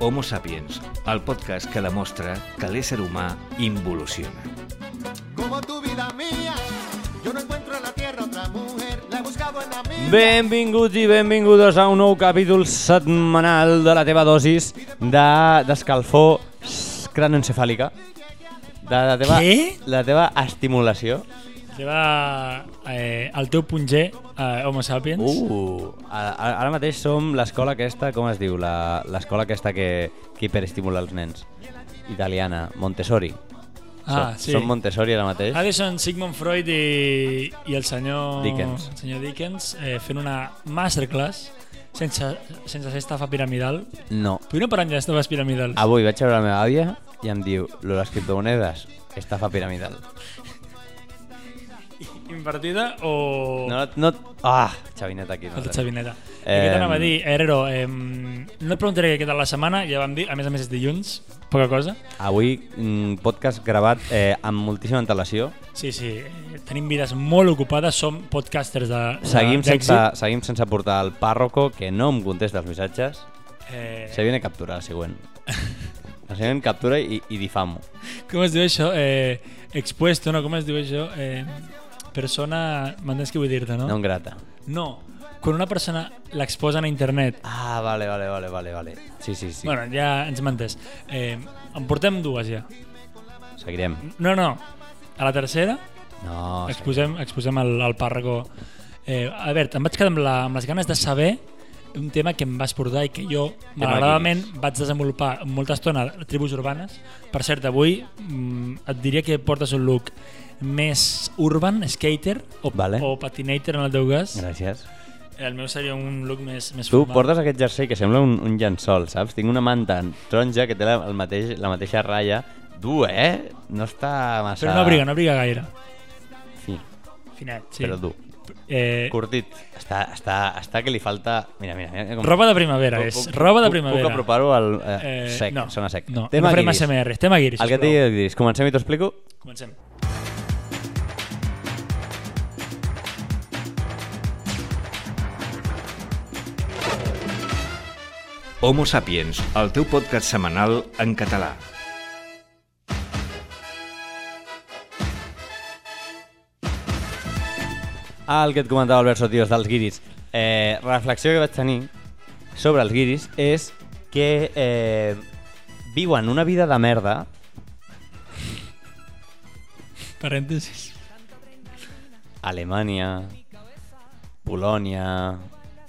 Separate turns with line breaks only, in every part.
Homo Sapiens, el podcast que demostra que l'ésser humà involuciona.
Como tu vida mía, yo no encuentro en la tierra otra mujer, la he buscado en la mía.
Benvinguts i benvingudes a un nou capítol setmanal de la teva dosis de- d'escalfor de, cranoencefàlica. De la teva,
Què?
la teva estimulació.
Lleva eh, el teu punt G a Homo Sapiens.
Uh, a- a- ara mateix som l'escola aquesta, com es diu? La- L'escola aquesta que, que hiperestimula els nens. Italiana, Montessori.
ah,
som,
sí.
som Montessori ara mateix.
Ara són Sigmund Freud i, i el senyor
Dickens.
el senyor Dickens eh, fent una masterclass sense, sense ser estafa piramidal.
No.
Podríem parlar ja d'estafes piramidals.
Avui vaig a veure la meva àvia i em diu, lo de les criptomonedes, estafa piramidal.
Invertida o...
No, no... Ah, xavinet aquí. No,
Falta xavineta.
Eh,
Eh... I què t'anava a dir, Herrero, eh, no et preguntaré què tal la setmana, ja vam dir, a més a més és dilluns, poca cosa.
Avui, mm, podcast gravat eh, amb moltíssima antelació.
Sí, sí, eh, tenim vides molt ocupades, som podcasters de, de-
Seguim
Ah, d'èxit.
sense, seguim sense portar el pàrroco, que no em contesta els missatges.
Eh,
Se viene a capturar, el següent. El següent captura i, i difamo.
Com es diu això? Eh, expuesto, no? Com es diu això? Eh, persona... M'entens què vull dir-te, no?
No, em grata.
No. Quan una persona l'exposen a internet...
Ah, vale, vale, vale, vale, vale. Sí, sí, sí.
Sí. Bueno, ja ens m'entès. Eh, en portem dues ja.
Seguirem.
No, no. A la tercera
No, seguirem.
exposem, exposem el, el pàrrego. Eh, a veure, em vaig quedar amb, la, amb les ganes de saber un tema que em vas portar i que jo, malauradament, vaig desenvolupar molta estona a tribus urbanes. Per cert, avui mm, et diria que portes un look més urban, skater o,
Vale.
o patinator en el teu cas. Eh,
Gràcies.
El meu seria un look més, més
Tu
formal.
portes aquest jersei que sembla un, un llençol, saps? Tinc una manta taronja que té la, el mateix, la mateixa ratlla. Dur, eh? No està massa...
Però no abriga, no abriga gaire.
Sí,
Finet, sí.
sí. però dur.
Eh,
Curtit. Està, està, està que li falta... Mira, mira, mira. Com...
roba de primavera és, roba de primavera.
Puc apropar-ho al eh,
Eh,
sec,
no,
sona sec.
No, tema no farem
guiris.
ASMR, tema guiris,
El que et
sisplau.
digui, guiris. Comencem i t'ho explico?
Comencem.
Homo Sapiens, el teu podcast setmanal en català.
El que et comentava Albert Sotios dels guiris. Eh, reflexió que vaig tenir sobre els guiris és que eh, viuen una vida de merda
Parèntesis.
Alemanya, Polònia,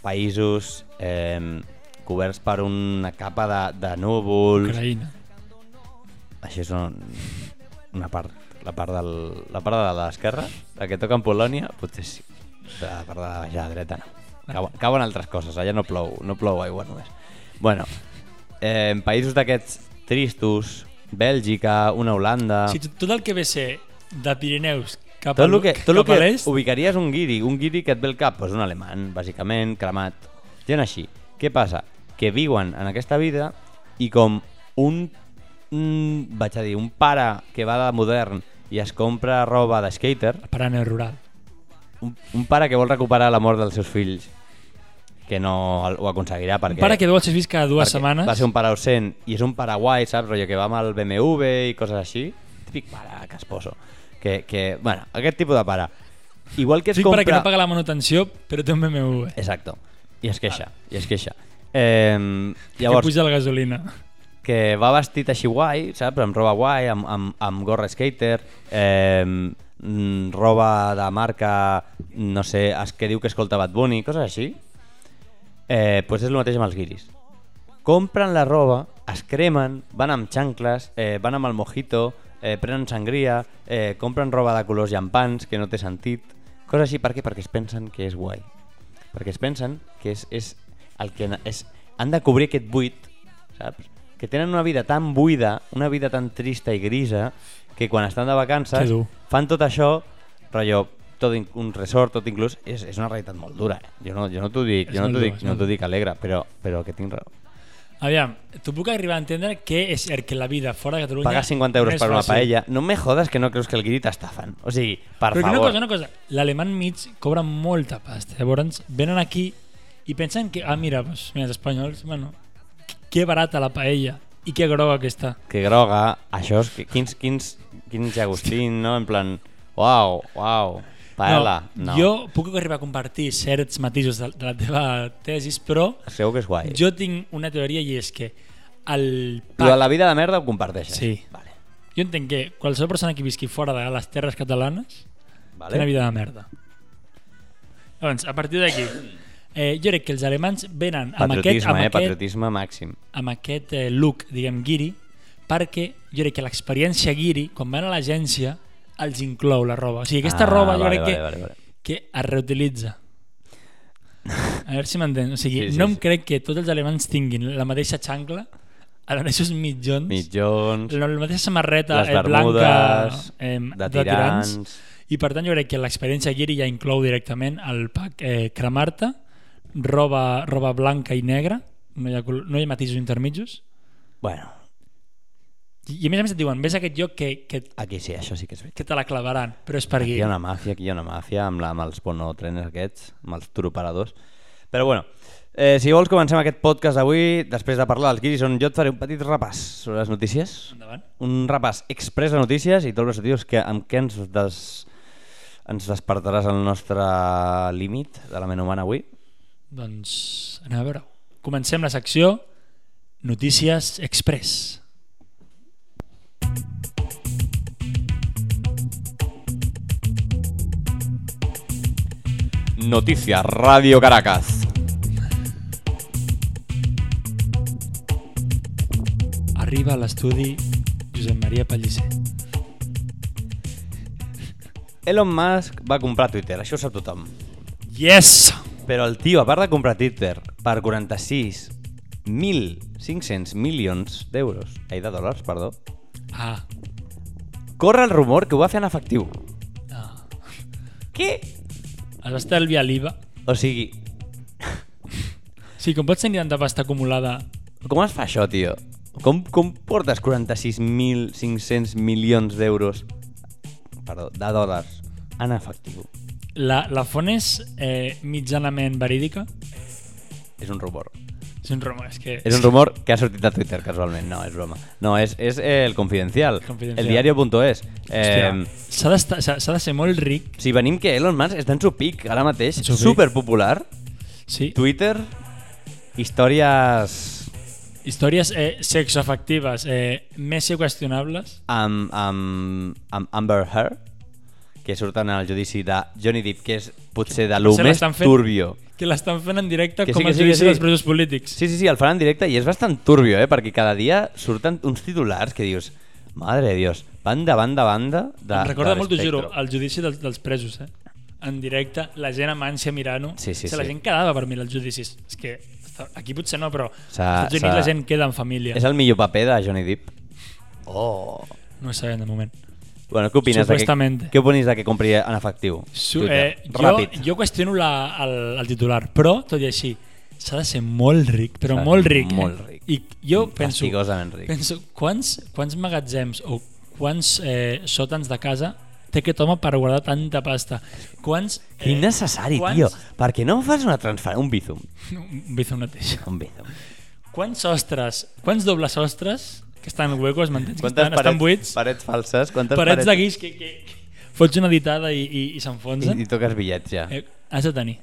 països eh, coberts per una capa de, de núvols,
Ucraïna.
Això és un, una part, la part, del, la part de l'esquerra, la que toca en Polònia, potser sí. Però La part de la baixada dreta no. Cauen, cauen altres coses, allà no plou, no plou aigua només. Bueno, eh, en països d'aquests tristos, Bèlgica, una Holanda...
Ah. Si tot, tot el que ve ser de Pirineus cap,
tot
al-
el que, tot el
cap a
que
l'est,
ubicaries un guiri, un guiri que et ve al cap, és un alemany, bàsicament, cremat. Gent així. Què passa? Que viuen en aquesta vida i com un, mm, vaig a dir, un pare que va de modern i es compra roba de skater,
parant el rural.
un, un pare que vol recuperar l'amor dels seus fills, que no el- ho aconseguirà perquè...
Un pare que veu els seus fills cada dues
perquè
setmanes.
Va ser un pare ausent i és un pare guai, saps? Rotllo que va amb el BMW i coses així. Típic pare casposo. Que, que, bueno, aquest tipus de pare. Igual que es
Sí,
compra... Eh,
pare que no paga la manutenció, però té un BMW.
Exacte. I es queixa, i es queixa. Eh,
Ah. que
llavors,
puja la gasolina.
que va vestit així guai, saps? Amb roba guai, amb, amb, amb gorra skater, eh, mm, roba de marca, no sé, es que diu que escolta Bad Bunny, coses així. Eh, pues és el mateix amb els guiris. Compren la roba, es cremen, van amb xancles, eh, van amb el mojito, eh, prenen sangria, eh, compren roba de colors llampants, que no té sentit, coses així, per què? Perquè es pensen que és guai. Perquè es pensen que és, és el que na- és, han de cobrir aquest buit, saps? Que tenen una vida tan buida, una vida tan trista i grisa, que quan estan de
Que
vacances
dur.
fan tot això, rotllo, tot in- un resort, tot inclús, és, és una realitat molt dura. Eh? Jo no, jo no t'ho dic,
És
jo no
molt
t'ho
dur,
dic,
és
no
molt
t'ho
dur.
dic alegre, però, però que tinc raó.
Aviam, tu puc arribar a entendre què és el que la vida fora de Catalunya...
Pagar 50 euros
no és
per una
fàcil.
paella. No me jodas que no creus que el guiri t'estafen. O sigui, per
Però que una
favor.
cosa, una cosa, l'alemany mig cobra molta pasta. Llavors, venen aquí i pensen que, ah, mira, doncs, mira, els espanyols, bueno, qui- que barata la paella i que groga que està.
que groga, això és... que- Quins, quins, quins Agustín, no? En plan, uau, uau, paella. No,
Jo puc arribar a compartir certs matisos de, de la teva tesis, però
Segur que és guai.
jo tinc una teoria i és que el
Lo de
pack...
la vida de merda ho comparteixes.
Sí.
Vale.
Jo entenc que qualsevol persona que visqui fora de les terres catalanes
vale.
té una vida de merda. Llavors, a partir d'aquí, eh, jo crec que els alemans venen amb aquest,
Patriotisme,
amb
eh?
aquest,
Patriotisme màxim.
amb aquest eh, look, diguem, guiri, perquè jo crec que l'experiència guiri, quan van a l'agència, els inclou la roba. O sigui, aquesta
Ah,
roba jo
vale,
crec
vale,
que,
vale, vale.
que es reutilitza. A veure si m'entens. O sigui,
Sí, sí,
no em
sí.
crec que tots els alemans tinguin la mateixa xancla, els mateixos mitjons,
Mitjons,
la la mateixa samarreta
les
eh, blanca
bermudes,
eh,
de tirants...
i per tant jo crec que l'experiència guiri ja inclou directament el pack eh, cremar-te, roba, roba blanca i negra, no hi ha, col- no hi ha matisos intermitjos,
Bueno,
i i a més a més et diuen, ves a aquest lloc que, que,
aquí sí, això sí que és veritat.
que te la clavaran, però és per
Aquí
aquí.
hi ha una màfia, aquí hi ha una màfia amb, la, amb els bonotrenes aquests, amb els turoperadors. Però bueno, eh, si vols comencem aquest podcast d'avui, després de parlar dels guiris, on jo et faré un petit repàs sobre les notícies.
Endavant.
Un repàs express de notícies i tots els notícies que, amb què ens, des, ens despertaràs el nostre límit de la ment humana avui.
Doncs anem a veure -ho. Comencem la secció Notícies Express.
Notícia Radio Caracas.
Arriba a l'estudi Josep Maria Pellicer.
Elon Musk va comprar Twitter, això ho sap tothom.
Yes!
Però el tio, a part de comprar Twitter per 46.500 milions d'euros, ai, de dòlars, perdó,
Ah,
corre el rumor que ho va fer en efectiu.
no.
Què?
Es va estalviar ah. l'IVA.
O sigui,
Sí, com pots tenir tanta pasta acumulada
com es fa això, tio? Com, com portes 46.500 milions d'euros, perdó, de dòlars, en efectiu?
La, la font és eh, mitjanament verídica?
És un rumor.
És un rumor, és que...
És un rumor que ha sortit a Twitter, casualment. No, és broma. No, és, és eh, el Confidencial.
Confidencial.
El diario.es.
Hòstia,
Eh,
s'ha d'estar- S'ha s'ha de ser molt ric,
si venim que Elon Musk està en su pic ara mateix,
En su pic.
superpopular,
sí. Tu...
Twitter, històries
Històries eh, sexoafectives eh, més que qüestionables.
amb, amb, amb Amber Heard, que surten al judici de Johnny Depp, que és potser de lo
Potser
més
l'estan fent-
turbio.
Que l'estan fent en directe
Que sí,
com
que
els
sí, que
judicis
sí.
dels presos polítics.
Sí, sí, sí, el fan en directe i és bastant turbio, eh? Perquè cada dia surten uns titulars que dius, madre de Dios, banda, banda, banda... De,
em recorda
de
molt, t'ho juro,
l'espectre".
el judici dels, dels presos, eh? En directe, la gent amb ànsia mirant-ho.
Sí, sí,
o sigui, La
sí.
gent quedava per mirar els judicis. És que està- aquí potser no, però als
S'ha-
Estats Units
s'ha-
la gent queda en família.
És el millor paper de Johnny Depp. Oh.
No ho sabem, de moment.
Bueno, què opines? de Que,
Supuestamente.
què opines de que compri en efectiu?
Su
Twitter?
eh,
Ràpid.
jo, jo qüestiono la, el, el titular, però, tot i així, s'ha de ser molt ric, però
S'ha de
molt
ser
ric. eh?
molt ric.
I jo penso,
Fastigosament ric.
penso quants, quants magatzems o quants eh, sòtans de casa té aquest home per guardar tanta pasta? Quants... Eh,
Quin necessari,
quants-
tio. Per què no fas una transferència? Un bizum.
No, vull fer una teixa.
Un bizum.
Quants sostres, quants dobles sostres que estan huecos, m'entens? Que
Quantes
Estan, estan buits.
parets falses? Quantes
Parets de guix que, que, que fots una ditada i, i, i
I,
s'enfonsen.
I toques bitllets ja.
Eh, has de tenir.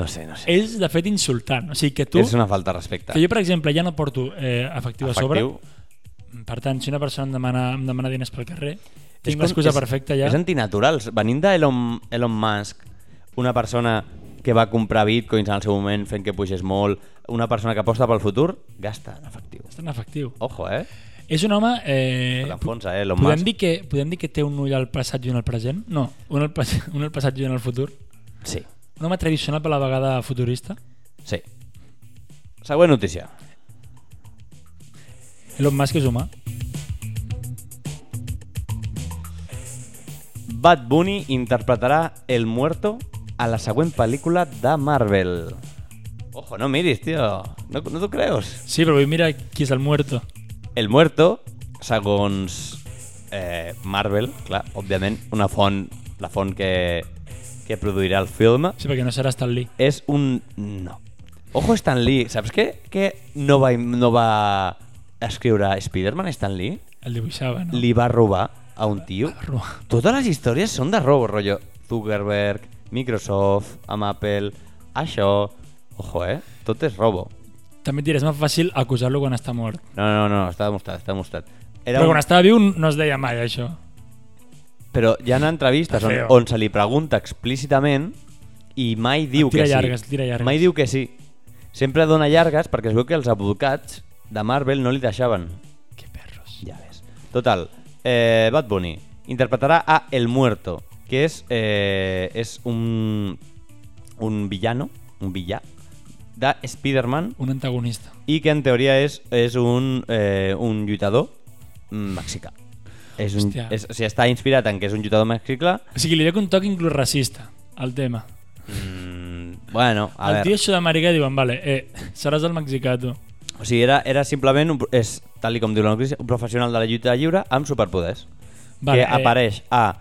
No sé, no sé.
És, de fet, insultant. O sigui, que tu...
És una falta de respecte.
Que jo, per exemple, ja no porto eh, efectiu, a sobre.
Efectiu.
Per tant, si una persona em demana, em demana diners pel carrer,
És
tinc
com-
l'excusa
és-
perfecta ja.
És antinatural. Venint d'Elon Elon Musk, una persona que va comprar bitcoins en el seu moment fent que pugés molt, una persona que aposta pel futur, gasta en efectiu.
És tan efectiu.
Ojo, eh?
És un home... Eh,
L'enfonsa, eh, Elon
podem
Musk.
dir, que, podem dir que té un ull al passat i un al present? No, un al, pas, un al passat i un al futur.
Sí,
Un home tradicional per la vegada futurista.
sí. Següent notícia.
Elon Musk és humà.
Bad Bunny interpretarà El Muerto a la següent pel·lícula de Marvel. Ojo, no miris, tio. No, no t'ho creus?
Sí, però vull mirar qui és el muerto.
El Muerto, segons eh, Marvel, clar, òbviament, una font, la font que, que produirà el film,
Sí, perquè no serà Stan Lee.
és un... no. Ojo Stan Lee, saps què? Que no va, no va escriure Spider-Man Stan Lee?
El dibuixava, no?
Li va robar a un tio.
Va robar.
Totes les històries són de robo, rotllo Zuckerberg, Microsoft, amb Apple, això... Ojo, eh? Tot és robo.
També et diré, és més fàcil acusar-lo quan està mort.
No, no, no, està demostrat, està demostrat.
Era Però
un-
quan estava viu no es deia mai això.
Però hi ha entrevistes
Està
on,
feo.
on se li pregunta explícitament i mai diu
Tira
que
llargues,
sí.
tira llargues.
Mai diu que sí. Sempre dona llargues perquè es veu que els advocats de Marvel no li deixaven.
Que perros.
Ja ves. Total, eh, Bad Bunny interpretarà a El Muerto, que és, eh, és un, un villano, un villà, de Spider-Man
Un antagonista.
i que en teoria és, és un, eh, un lluitador mexicà. És un,
Hòstia.
és, o sigui, està inspirat en que és un lluitador mexicà.
O sigui, li veig un toc inclús racista al tema.
Mm, bueno, a
el tio
veure.
és sud-americà i diuen, vale, eh, seràs el mexicà, tu.
O sigui, era, era simplement, un, pro- és, tal i com diu la notícia, un professional de la lluita lliure amb superpoders.
Vale,
que apareix a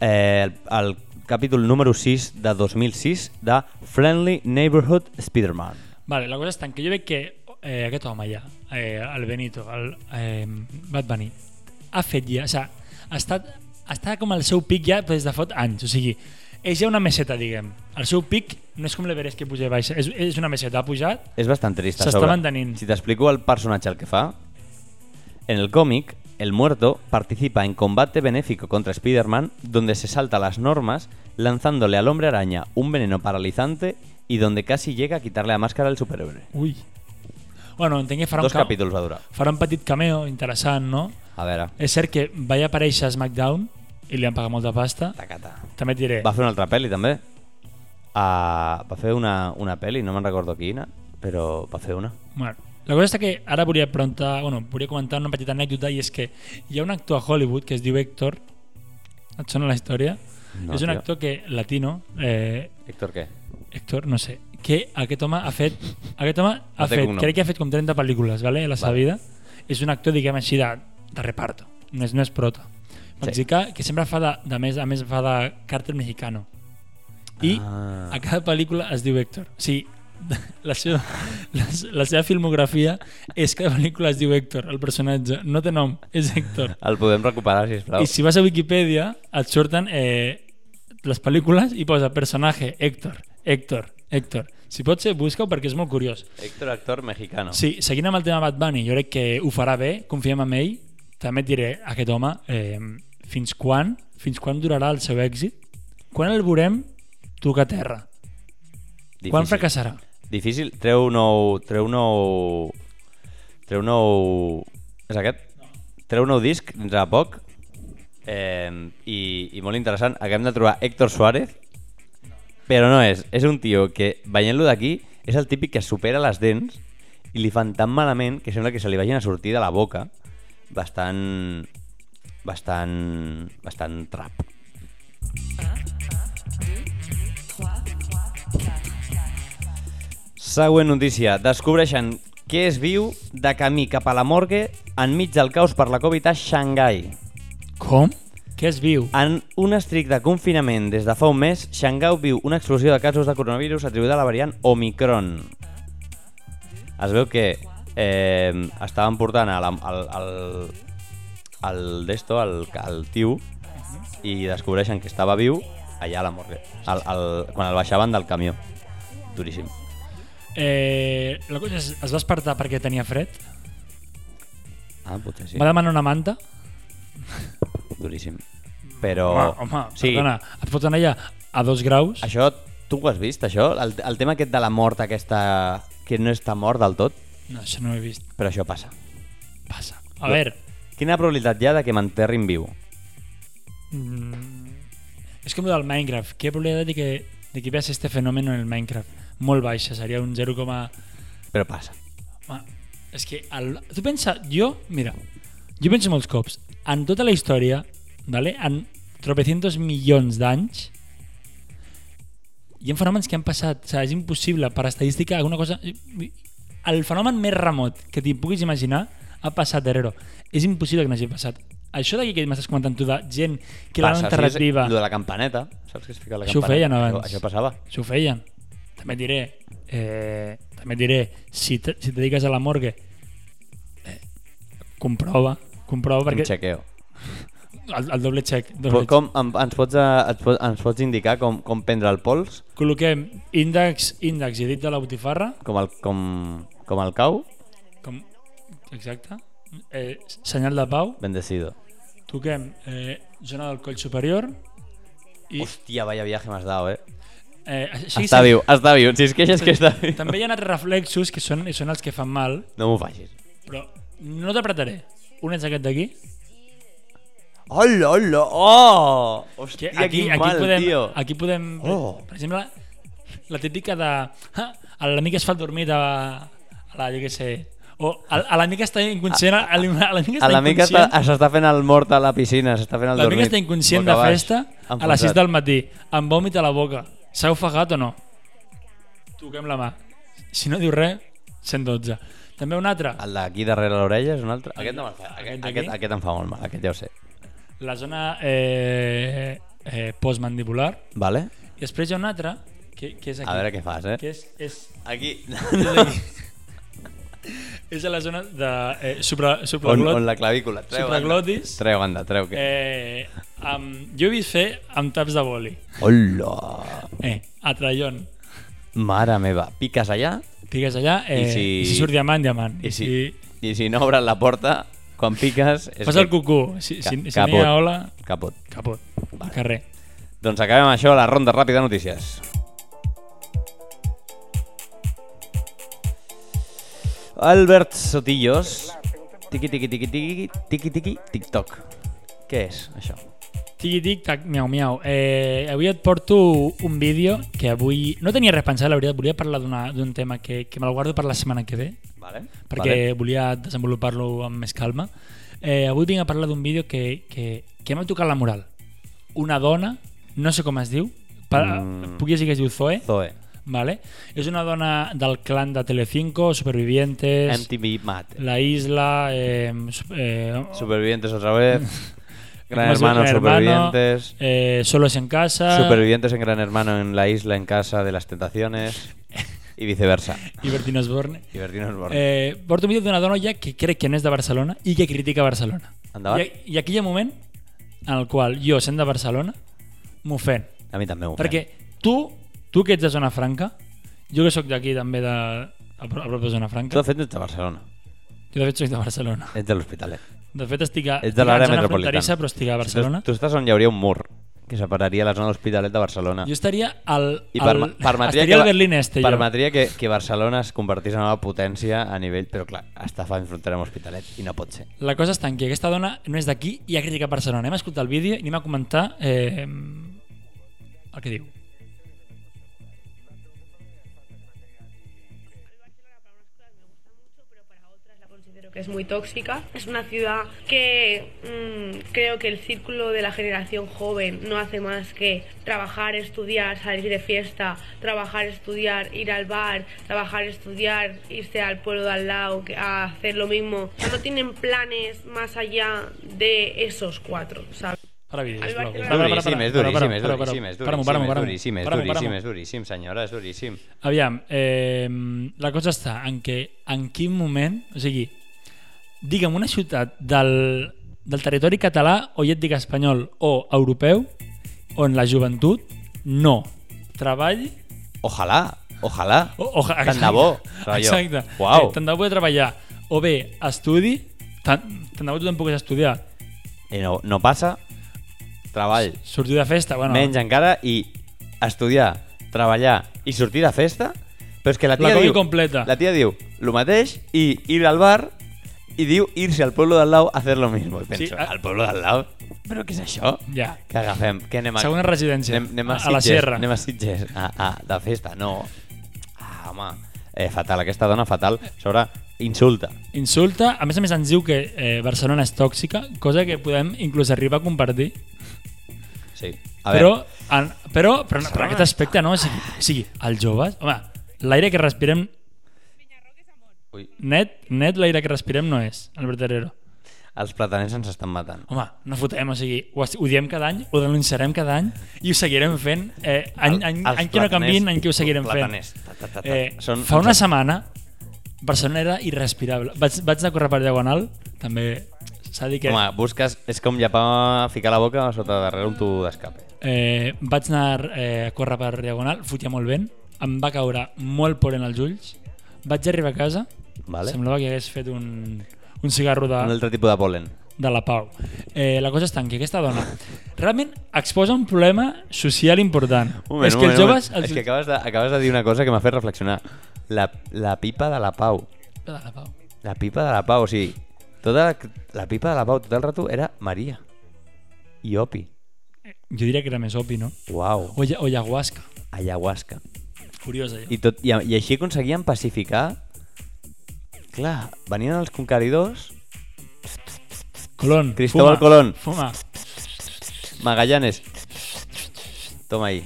eh, el, el capítol número 6 de 2006 de Friendly Neighborhood Spider-Man.
Vale, la cosa és tant que jo veig que eh, aquest home ja, eh, el Benito, el eh, Bad Bunny, ha fet ja, o sigui, ha estat, està com al seu pic ja des de fot anys, o sigui, és ja una meseta, diguem. El seu pic no és com l'Everest que puja i baixa, és, és una meseta, ha pujat,
És bastant trist. a
S'està
sobre.
mantenint.
Si t'explico el personatge el que fa, en el cómic, el muerto participa en combate benéfico contra Spider-Man, donde se salta las normas lanzándole al hombre araña un veneno paralizante y donde casi llega a quitarle la máscara al superhéroe.
ui. Bueno, entenc que farà
Dos
un, ca-
capítols va durar.
farà un petit cameo interessant, no?
A veure,
És cert que va aparèixer a SmackDown i li han pagat molta pasta.
tacata.
També et diré,
Va fer una altra pel·li, també. Uh, va fer una, una pel·li, no me'n recordo quina, però va fer una.
Bueno, la cosa és que ara volia preguntar, bueno, volia comentar una petita anècdota i és que hi ha un actor a Hollywood que es diu Héctor, et sona la història?
No,
és un
tio.
actor que latino, eh,
Héctor, què?
Héctor, no sé, que aquest home ha fet, aquest home ha
té
fet,
cognom.
crec que ha fet com 30 pel·lícules, vale? a la seva
Vale.
vida. És un actor, diguem així, de, de reparto, no és, no és prota. Mexicà, que sempre fa de, de més, a més fa de càrtel mexicano. I
Ah.
a cada pel·lícula es diu Héctor. O sigui, la seva, la, se- la seva filmografia és que cada pel·lícula es diu Héctor, el personatge. No té nom, és Héctor.
El podem recuperar, sisplau.
I si vas a Wikipedia et surten eh, les pel·lícules i posa personatge, Héctor, Héctor, Héctor. Si pot ser, busca-ho perquè és molt curiós.
Héctor, actor mexicano.
Sí, seguint amb el tema Bad Bunny, jo crec que ho farà bé, confiem en ell. També et diré, aquest home, eh, fins quan, fins quan durarà el seu èxit? Quan el veurem tocar terra?
Difícil.
Quan fracassarà?
Difícil. Treu nou... Treu nou... Treu nou... És aquest? Treu nou disc dins de poc. Eh, i, I molt interessant. Acabem de trobar Héctor Suárez. Però no és. És un tio que, veient-lo d'aquí, és el típic que supera les dents i li fan tan malament que sembla que se li vagin a sortir de la boca. Bastant... Bastant... Bastant trap.
3, 4, 4.
Següent notícia. Descobreixen què es viu de camí cap a la morgue enmig del caos per la Covid a Xangai.
Com? Què es viu?
En un estricte confinament des de fa un mes, Xangai viu una explosió de casos de coronavirus atribuïda a la variant Omicron. Es veu que eh, estaven portant a la, al, al, al d'esto, al, al tiu, i descobreixen que estava viu allà a la morgue, al, al, quan el baixaven del camió. Duríssim.
Eh, la cosa és, es va despertar perquè tenia fred,
Ah, potser sí.
va demanar una manta,
Duríssim. Però...
Mm. Home, home sí. perdona, et pots anar allà a dos graus?
Això, tu ho has vist, això? El, el tema aquest de la mort aquesta... Que no està mort del tot,
No, això no ho he vist.
però això passa.
Passa. A veure,
Quina probabilitat hi ha de que m'enterrin viu?
mm, és com el del Minecraft. Què probabilitat de que, de que veas este fenomen en el Minecraft? Molt baixa, seria un 0, coma-
Però passa.
home, és que el, tu pensa, jo, mira, jo penso molts cops, en tota la història, vale? en tropecientos milions d'anys, hi ha fenòmens que han passat, o sigui, és impossible per estadística alguna cosa... El fenomen més remot que t'hi puguis imaginar ha passat, Herrero. És impossible que n'hagi passat. Això d'aquí que m'estàs comentant tu de gent que l'han
Passa,
enterrat
sí, és
viva,
Lo de la campaneta. Saps que es fica la
Això ho
campaneta?
feien abans.
Això, això passava.
s'ho feien. també et diré, eh, també et diré si, te, si et dediques a la morgue, eh, comprova, comprova
Un
perquè
chequeo.
el, el doble check.
Però
Doble
Com, em- ens, pots, eh, ens, pots, ens pots indicar com, com prendre el pols?
check. Col·loquem índex, índex i dit de la botifarra,
Com el, com, com el cau?
com, exacte, eh, senyal de pau,
Bendecido.
toquem eh, zona del coll superior, i
Hòstia, vaya viaje m'has dado, eh?
eh, així
Està
se-
viu, està viu. Si es queixes que està viu.
També hi ha altres reflexos que són, són els que fan mal,
No m'ho facis.
però no t'apretaré. Un és aquest d'aquí.
Hola, hola, oh!
que
Hòstia,
Aquí,
quin
aquí,
mal,
podem,
tio.
aquí podem...
Oh.
Per exemple, la típica de... "Ah, L'amic es fa dormir a, a la, jo què sé... O a, a l'amic està inconscient... A, a, a l'amic
A
està
l'amic està-
inconscient...
s'està fent el mort a la piscina, s'està fent el dormit.
L'amic està inconscient
boca
de
baix,
festa a les
enfonsat.
6 del matí, amb vòmit a la boca. S'ha ofegat o no? Toquem la mà. Si no diu res, 112. També un altre,
El d'aquí darrere l'orella és un altre? Aquest no me'l fa.
Aquest
Aquest,
d'aquí?
aquest, aquest em fa molt mal, aquest ja ho sé.
la zona eh, eh, postmandibular.
Vale?
I després hi ha un altre, que, que és aquí.
A veure què fas, eh?
Que és, és,
Aquí.
és a la zona de eh, supra,
on,
supraglot,
on la clavícula. Treu, anda.
supraglotis.
Treu, anda, treu. Que...
Eh, amb, jo he vist fer amb taps de boli.
Hola!
Eh, a trallon.
Mare meva, piques allà
Piques allà eh,
I
i, si...
si-
i si surt diamant, diamant.
i si, i si no obres la porta, quan piques... És
Fas
que-
el cucú. Si, si,
Ca-
si no hi
caput.
ha ola,
Caput.
caput. Al carrer.
Doncs acabem amb això, la ronda ràpida de notícies. Albert Sotillos. Tiqui, tiqui, tiqui, tiqui, tiqui, tiqui, TikTok. Què és això?
Tigui tic, tac, miau, miau. Eh, avui et porto un vídeo que avui... No tenia res pensat, la veritat. Volia parlar d'una- d'un tema que, que me la guardo per la setmana que ve.
Vale.
perquè volia desenvolupar-lo amb més calma. Eh, avui vinc a parlar d'un vídeo que, que, que m'ha tocat la moral. Una dona, no sé com es diu, per,
Mm.
mm. puc dir que es diu Zoe,
Zoe.
vale? és una dona del clan de Telecinco, Supervivientes,
MTV Mate.
La Isla, eh, sup- eh,
Supervivientes otra vez. Gran
Más
Hermano,
Gran Hermano,
Supervivientes.
eh, Solos en Casa
Supervivientes en Gran Hermano en la isla en casa de las tentaciones. Y viceversa.
i Bertín Osborne.
Y Bertín Osborne.
Eh, porto un vídeo d'una dona ja que crec que no és de Barcelona i que critica Barcelona.
Endavant.
I, I aquí hi ha un moment en el qual jo, sent de Barcelona, m'ofèn.
a mi també m'ho
Perquè tu, tu que ets de Zona Franca, jo que sóc d'aquí també de, a, pro- a prop de
Tu
Zona
de
Franca,
fet ets de Barcelona.
jo de fet soc de Barcelona.
Ets de l'Hospitalet.
De fet estic a,
Ets de l'àrea
estic a zona
metropolitana.
fronterissa, però estic a Barcelona.
Tu, tu estàs on hi hauria un mur que separaria la zona de l'Hospitalet de Barcelona.
Jo estaria al,
I
al,
perma- permetria,
estaria
que,
al Berlín Este, jo.
permetria que, que Barcelona es convertís en una potència a nivell... Però clar, està fent frontera amb l'Hospitalet i no pot ser.
La cosa està en que aquesta dona no és d'aquí i ha criticat Barcelona. Anem a escoltar el vídeo i anem a comentar eh, el que diu.
que es muy tóxica. Es una ciudad que mm, creo que el círculo de la generación joven no hace más que trabajar, estudiar, salir de fiesta, trabajar, estudiar, ir al bar, trabajar, estudiar, irse al pueblo de al lado que- a hacer lo mismo. O sea, no tienen planes más allá de esos cuatro, ¿sabes?
Para vídeo,
Al
sisplau.
Barcelona.
Para, para,
duríssim,
para,
és
para, para,
duríssim, és
para, para.
duríssim, és
Para-m'ho,
duríssim, és duríssim,
para-m'ho, para-m'ho.
és
Para-m'ho,
duríssim,
para-m'ho.
és duríssim, senyora, és duríssim.
Aviam, eh, la cosa està en que en quin moment, o sigui, digue'm una ciutat del, del territori català o ja et dic espanyol o europeu on la joventut no treballi
Ojalà, ojalà.
o, o,
Tant de bo, rotllo.
Exacte. Eh,
Uau.
tant de bo de treballar o bé estudi, tant, tant de bo tu tampoc és estudiar,
I no, no passa, treball,
sortir de festa, bueno,
menys encara, i estudiar, treballar i sortir de festa, però és que la
la
tia
combi
diu...
completa.
La tia diu lo mateix i ir al bar i diu irse al pueblo del lado a hacer lo mismo. I penso,
Sí, ah.
sí,
a-
al pueblo del lado? Però què és això?
Ja.
Que agafem? Que anem a...
Segona residència,
Anem, anem a,
a la
Sitges,
Sierra.
Anem a Sitges, a, a, de festa, no. Ah, home, eh, fatal, aquesta dona fatal. A Sobre, insulta.
Insulta, a més a més ens diu que eh, Barcelona és tòxica, cosa que podem inclús arribar a compartir,
Sí. A
però,
veure,
en, però, però, però en aquest aspecte no, o sigui, o sigui els joves, home, l'aire que respirem
Ui.
net, net l'aire que respirem no és, Albert Herrero.
els plataners ens estan matant.
Home, no fotem, o sigui, ho, es- ho diem cada any, ho denunciarem cada any i ho seguirem fent eh, any,
El-
any,
els
any que no
plataners-
canvien, any que ho seguirem
plataners,
fent.
ta, ta, ta, ta.
Eh,
Són-
fa una
ens-
setmana Barcelona era irrespirable. Vaig, vaig anar a córrer per Diagonal, també s'ha de dir que...
Home, busques... És com llepar, ficar la boca sota darrere un tubo d'escape.
Eh, vaig anar eh, a córrer per Diagonal, fotia molt vent, em va caure molt polen als ulls, vaig arribar a casa,
Vale.
semblava que hagués fet un, un cigarro de,
Un altre tipus de polen.
de la Pau. Eh, la cosa és tan que aquesta dona realment exposa un problema social important. és que els joves... Els...
És que acabes de, acabes de dir una cosa que m'ha fet reflexionar. La, la pipa de la pau.
De Ah, la Pau.
La pipa de la pau, o sigui... Tota la, la pipa de la pau tot el rato era Maria. I Opi.
Jo diria que era més opi, no?
Uau.
O, ya- o ayahuasca.
Ayahuasca.
Curiosa, ja.
I, tot, i, i així aconseguien pacificar... Clar, venien els conqueridors...
Colón.
Cristóbal
fuma,
Colón.
Fuma.
Magallanes. Toma ahí.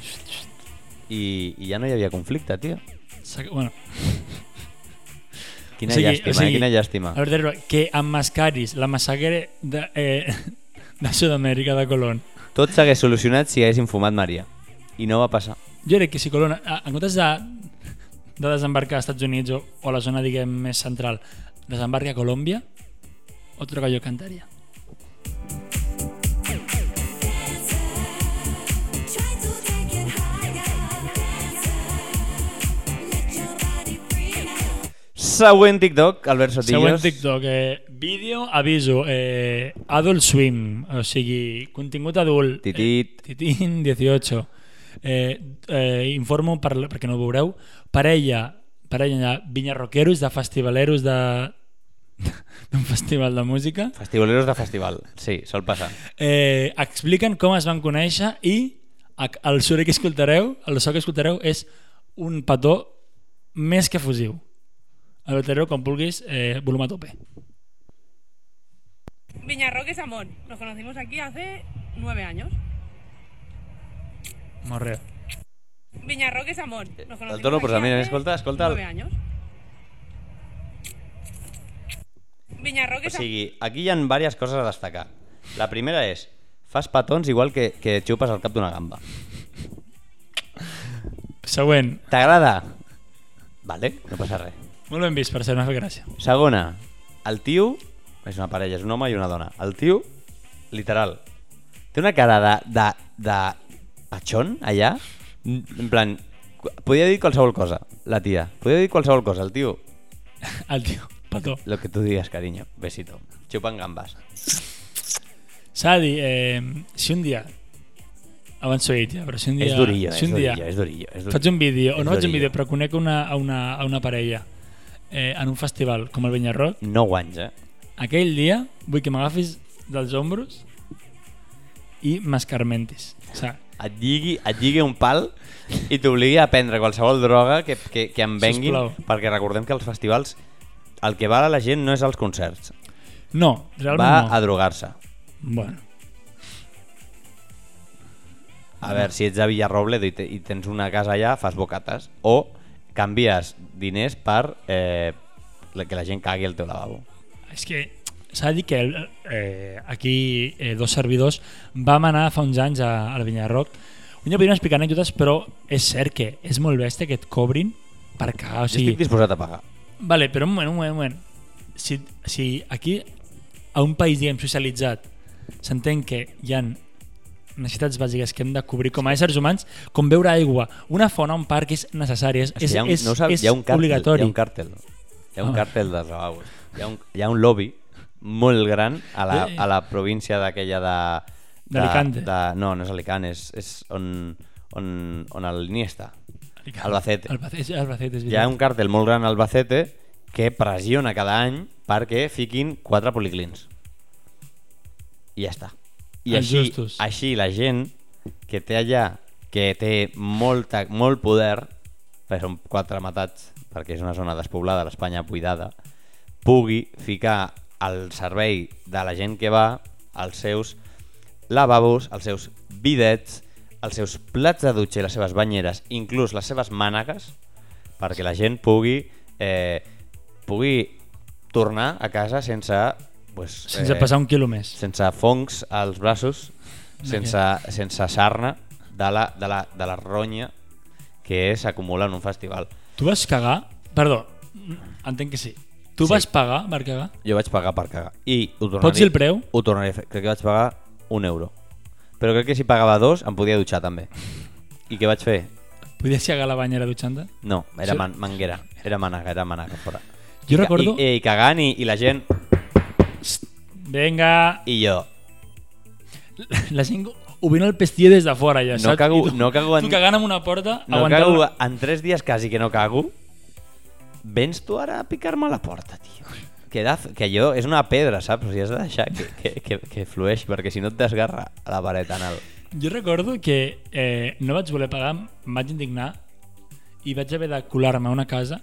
I, I ja no hi havia conflicte, tio.
Saca- Bueno,
Quina llàstima, eh? quina llàstima.
A veure, que emmascaris la massacre de, eh, de Sud-amèrica de Colón.
Tot s'hagués solucionat si haguessin fumat Maria. I no va passar.
Jo crec que si Colón, a- en comptes de, de desembarcar als Estats Units o, o la zona, diguem, més central, desembarca a Colòmbia, otro gallo cantaria.
Següent TikTok, Albert Sotillos.
Següent TikTok, eh, vídeo, aviso, eh, Adult Swim, o sigui, contingut adult.
Titit.
Eh, titín, 18. Eh, eh, informo, per, perquè no ho veureu, parella, parella de vinyarroqueros, de festivaleros de d'un festival de música
Festivoleros de festival. Sí, sol passar.
eh, expliquen com es van conèixer i ac- el soroll que escoltareu el so que escoltareu és un petó més que fusiu el vetereu com vulguis eh, volum a tope
Viñarroque es amor. Nos conocimos aquí hace nueve años.
Morreo.
Viñarroque es amor. Nos conocimos
El tono, pues,
aquí
también,
hace
escolta, escolta.
Nueve años. Viñarroque
O
es
Pues
amor.
sigui, aquí hi ha diverses coses a destacar. La primera és, fas petons igual que, que xupes al cap d'una gamba.
següent
T'agrada? Vale, no passa res.
molt ben vist per ser, m'ha fet gràcia
Segona, el tio... És una parella, és un home i una dona. El tio, literal, té una cara de... de, de patxon, allà. En plan, qu- podia dir qualsevol cosa, la tia. Podia dir qualsevol cosa. El tio,
el tio petó
lo que tú digas, cariño. Besito. Xupan gambes.
s'ha de dir eh, si un dia abans ho he dit ja però si un dia
és durillo,
si
és
un dia
durillo, és durillo, és durillo.
faig un vídeo o
És
no faig un
durillo.
vídeo però conec una, a, una, a una parella eh, en un festival com el Benyarroc
No guanys, eh?
Aquell dia vull que m'agafis dels ombros i m'escarmentis. O sigui,
Et lligui, et lligui un pal i t'obligui a prendre qualsevol droga que, que, que em venguin,
Sisplau.
perquè recordem que els festivals el que va a la gent no és als concerts,
no,
va a
realment no.
drogar-se.
Bueno,
A veure, si ets de Villarrobledo i, te, i tens una casa allà, fas bocates. O canvies diners per eh, la- que la gent cagui al teu lavabo.
és que s'ha de dir que el- eh, aquí eh, dos servidors vam anar fa uns anys a, al Vinyarroc. Un dia podríem explicar anècdotes, però és cert que és molt bèstia que et cobrin per cagar. O
Sí.
sigui,
Estic disposat a pagar.
Vale, però un moment, un moment, un moment. Si, si aquí, a un país, diguem, socialitzat, s'entén que hi han necessitats bàsiques que hem de cobrir com a éssers humans, com beure aigua, una font o un parc és necessari, és,
que
és,
hi ha un,
és,
no ho saps,
és
hi ha un càrtel,
obligatori.
Hi ha un càrtel. Hi ha un
Ah.
càrtel dels lavabos. Hi ha un, hi ha un lobby molt gran a la,
Eh.
a la província d'aquella de... de-
D'Alicante.
De, no, no és Alicante, és, és on, on, on el Iniesta. Albacete.
Albacete, Albacete és
Hi ha
veritat.
un càrtel molt gran a Albacete que pressiona cada any perquè fiquin quatre policlins. I ja està. I
Els
així,
justos.
així la gent que té allà, que té molta, molt poder, perquè són quatre matats, perquè és una zona despoblada, l'Espanya buidada, pugui ficar al servei de la gent que va els seus lavabos, els seus bidets, els seus plats de dutxa i les seves banyeres, inclús les seves mànegues, perquè la gent pugui, eh, pugui tornar a casa sense pues,
Sense passar un quilo més.
sense fongs als braços, sense, sense sarna de la, de, la, de la ronya que s'acumula en un festival.
Tu vas cagar? Perdó, entenc que sí. Tu
Sí.
vas pagar per cagar?
Jo vaig pagar per cagar. I ho tornaré,
Pots dir el preu?
Ho tornaré a fer. Crec que vaig pagar un euro. Però crec que si pagava dos em podia dutxar també. I què vaig fer?
Podies cagar a la banyera dutxant-te?
No, era
Sí.
man manguera. Era managa, era managa. Fora.
Jo
I ca-
recordo...
I, eh, i cagant i, i la gent...
Vinga,
I jo...
la gent ho vino el pestillo des de fora, ja,
No
saps?
cago-
I tu,
no cago en-
Tu cagant amb una porta,
No
aguantant...
cago,
una-
en tres dies quasi que no cago. Vens tu ara a picar-me a la porta, tio. Que, da, que allò és una pedra, saps? O sigui, has de deixar que, que, que, que flueix, perquè si no et desgarra a la paret anal.
Jo recordo que eh, no vaig voler pagar, em vaig indignar i vaig haver de colar-me a una casa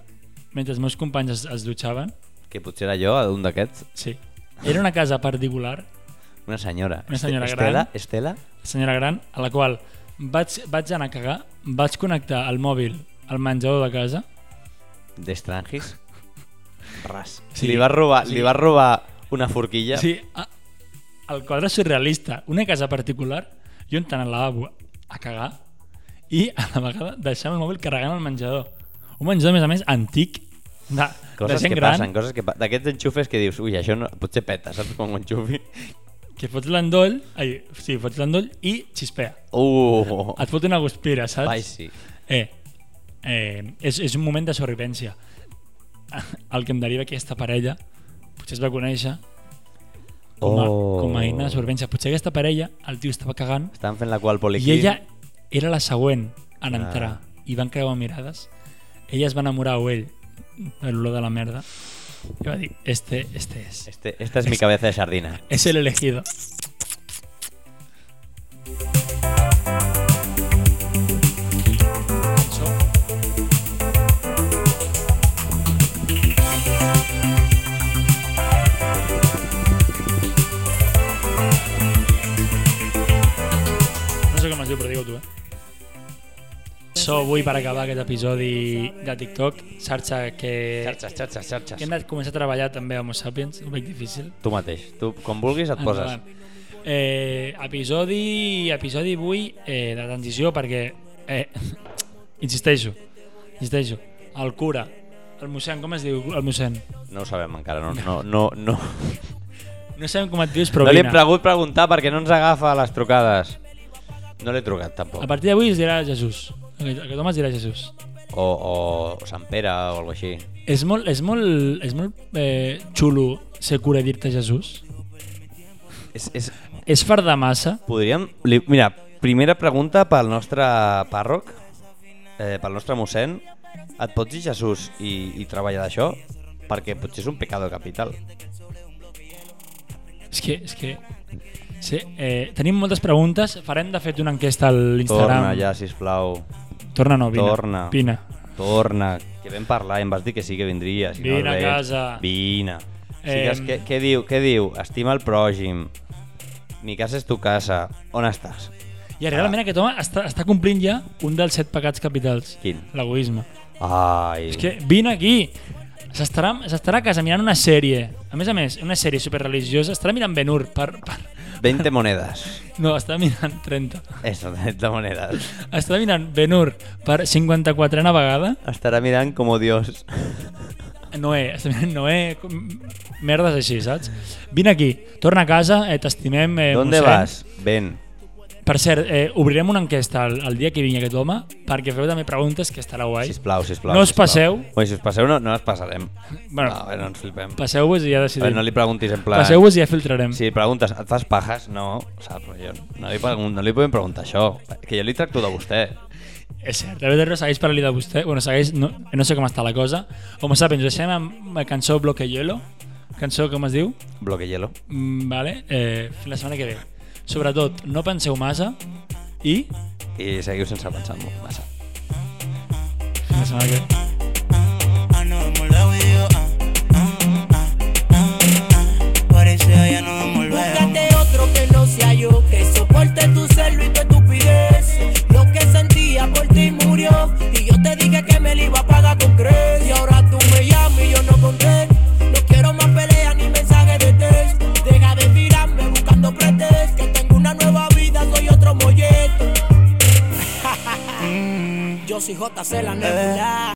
mentre els meus companys es, es dutxaven.
Que potser era jo, un d'aquests,
Sí. Era una casa particular,
una senyora.
Una senyora
Este-
gran.
Estela, Estela,
senyora gran, a la qual vaig, vaig anar a cagar, vaig connectar el mòbil al menjador de casa,
d'Estrangis. Ras.
Sí,
Sí, li, va robar,
sí.
sí. li va robar una forquilla.
sí, a, el quadre surrealista, una casa particular, jo entrant al lavabo a cagar i a la vegada deixant el mòbil carregant al menjador. Un menjador, a més a més, antic, de, de
Coses
gent
que
gran.
passen, coses que pa- D'aquests enxufes que dius, ui, això no, potser peta, saps? Com ho enxufi.
que fots l'endoll, ai, sí, fots l'endoll i xispea.
Uh,
Et fot una guspira, saps?
Ai, sí.
Eh, eh, és, és un moment de sobrevivència. El que em deriva aquesta parella, potser es va conèixer com a,
Oh.
com a eina de sobrevivència. Potser aquesta parella, el tio estava cagant
Estan fent la qual
i
poliquín.
ella era la següent en entrar i van creuar mirades. Ella es va enamorar o ell de l'olor de la merda i va dir, este, este és.
Este, esta es mi cabeza de sardina.
Es el elegido. No sé com es diu, però digue-ho tu, eh? So, avui per acabar aquest episodi de TikTok, xarxa que,
Xarxes, xarxes, xarxes.
que hem de començar a treballar també a Homo Sapiens, ho veig difícil.
Tu mateix, tu com vulguis et poses.
Endavant. Eh, episodi, episodi avui eh, de transició perquè, eh, insisteixo, insisteixo, el cura, el mossèn, com es diu el mossèn?
No ho sabem encara, no, no, no, no.
No sabem com et dius, però
no li hem
vine.
pregut preguntar perquè no ens agafa a les trucades. No l'he trucat tampoc.
A partir d'avui es dirà Jesús. Aquest, aquest home es dirà Jesús.
O, o Sant Pere o alguna així.
És molt, és molt, és molt eh, xulo ser cura i dir-te Jesús.
És, és...
És far de massa.
Podríem... Li... Mira, primera pregunta pel nostre pàrroc, eh, pel nostre mossèn. Et pots dir Jesús i, i treballar d'això? Perquè potser és un pecado capital.
És que, és que... Sí, eh, tenim moltes preguntes. Farem, de fet, una enquesta a l'Instagram.
Torna ja, sisplau.
Torna, no, vine.
Torna.
Vine.
Torna, que vam parlar i em vas dir que sí que vindries. i
Vine
no
a
res.
casa.
Vine.
Em.
Sigues, què, què, diu, què diu? Estima el pròxim. Mi casa és tu casa. On estàs?
I
Ah.
realment aquest home està, està complint ja un dels set pecats capitals.
Quin?
L'egoisme.
Ai.
És que vine aquí! S'estarà s'estarà a casa mirant una sèrie. A més a més, una sèrie superreligiosa. Estarà mirant Ben Hur per, per...
20 monedes.
No, està mirant 30.
Eso, 20 monedes.
Estarà mirant Ben Hur per 54a vegada.
Estarà mirant com Dios.
Noé, està mirant Noé... com- Merdes així, saps? Vine aquí, torna a casa, eh, t'estimem, eh,
¿Dónde
mossèn.
vas? Ven.
Per cert, eh, obrirem una enquesta el, el dia que vingui aquest home perquè feu també preguntes que estarà guai.
Sisplau, sisplau.
No us
sisplau.
passeu.
Ui, si us passeu no, no ens passarem.
Bueno.
no, a veure, no ens flipem.
Passeu-vos i ja
A veure,
decidim.
no li preguntis en plan...
Passeu-vos i ja filtrarem.
Si li preguntes, et fas pajas? No, saps, jo no li, pregun- no li podem preguntar això, que jo li tracto de vostè.
És cert, la BDR segueix per de vostè, bueno, segueix, no, no sé com està la cosa. Homo sapiens, us deixem amb la cançó Bloque Hielo, cançó com es diu,
Bloque hielo.
mm, vale? eh, fins la setmana que ve. Sobretot, no penseu massa i
I seguiu sense pensar molt massa.
fins la setmana que ve.
I know I'm all with you. ah, ah, ah, ah, ah. Por eso ya no me volvemos.
Búscate otro que no sea yo, que soporte tu celo y tu estupidez. Lo que sentía por ti murió, y yo te dije que me lo iba a pagar con creces. Y ahora tú me llamas y yo no conté. No quiero más peleas ni mensajes de texto. Yo soy JC la nebula.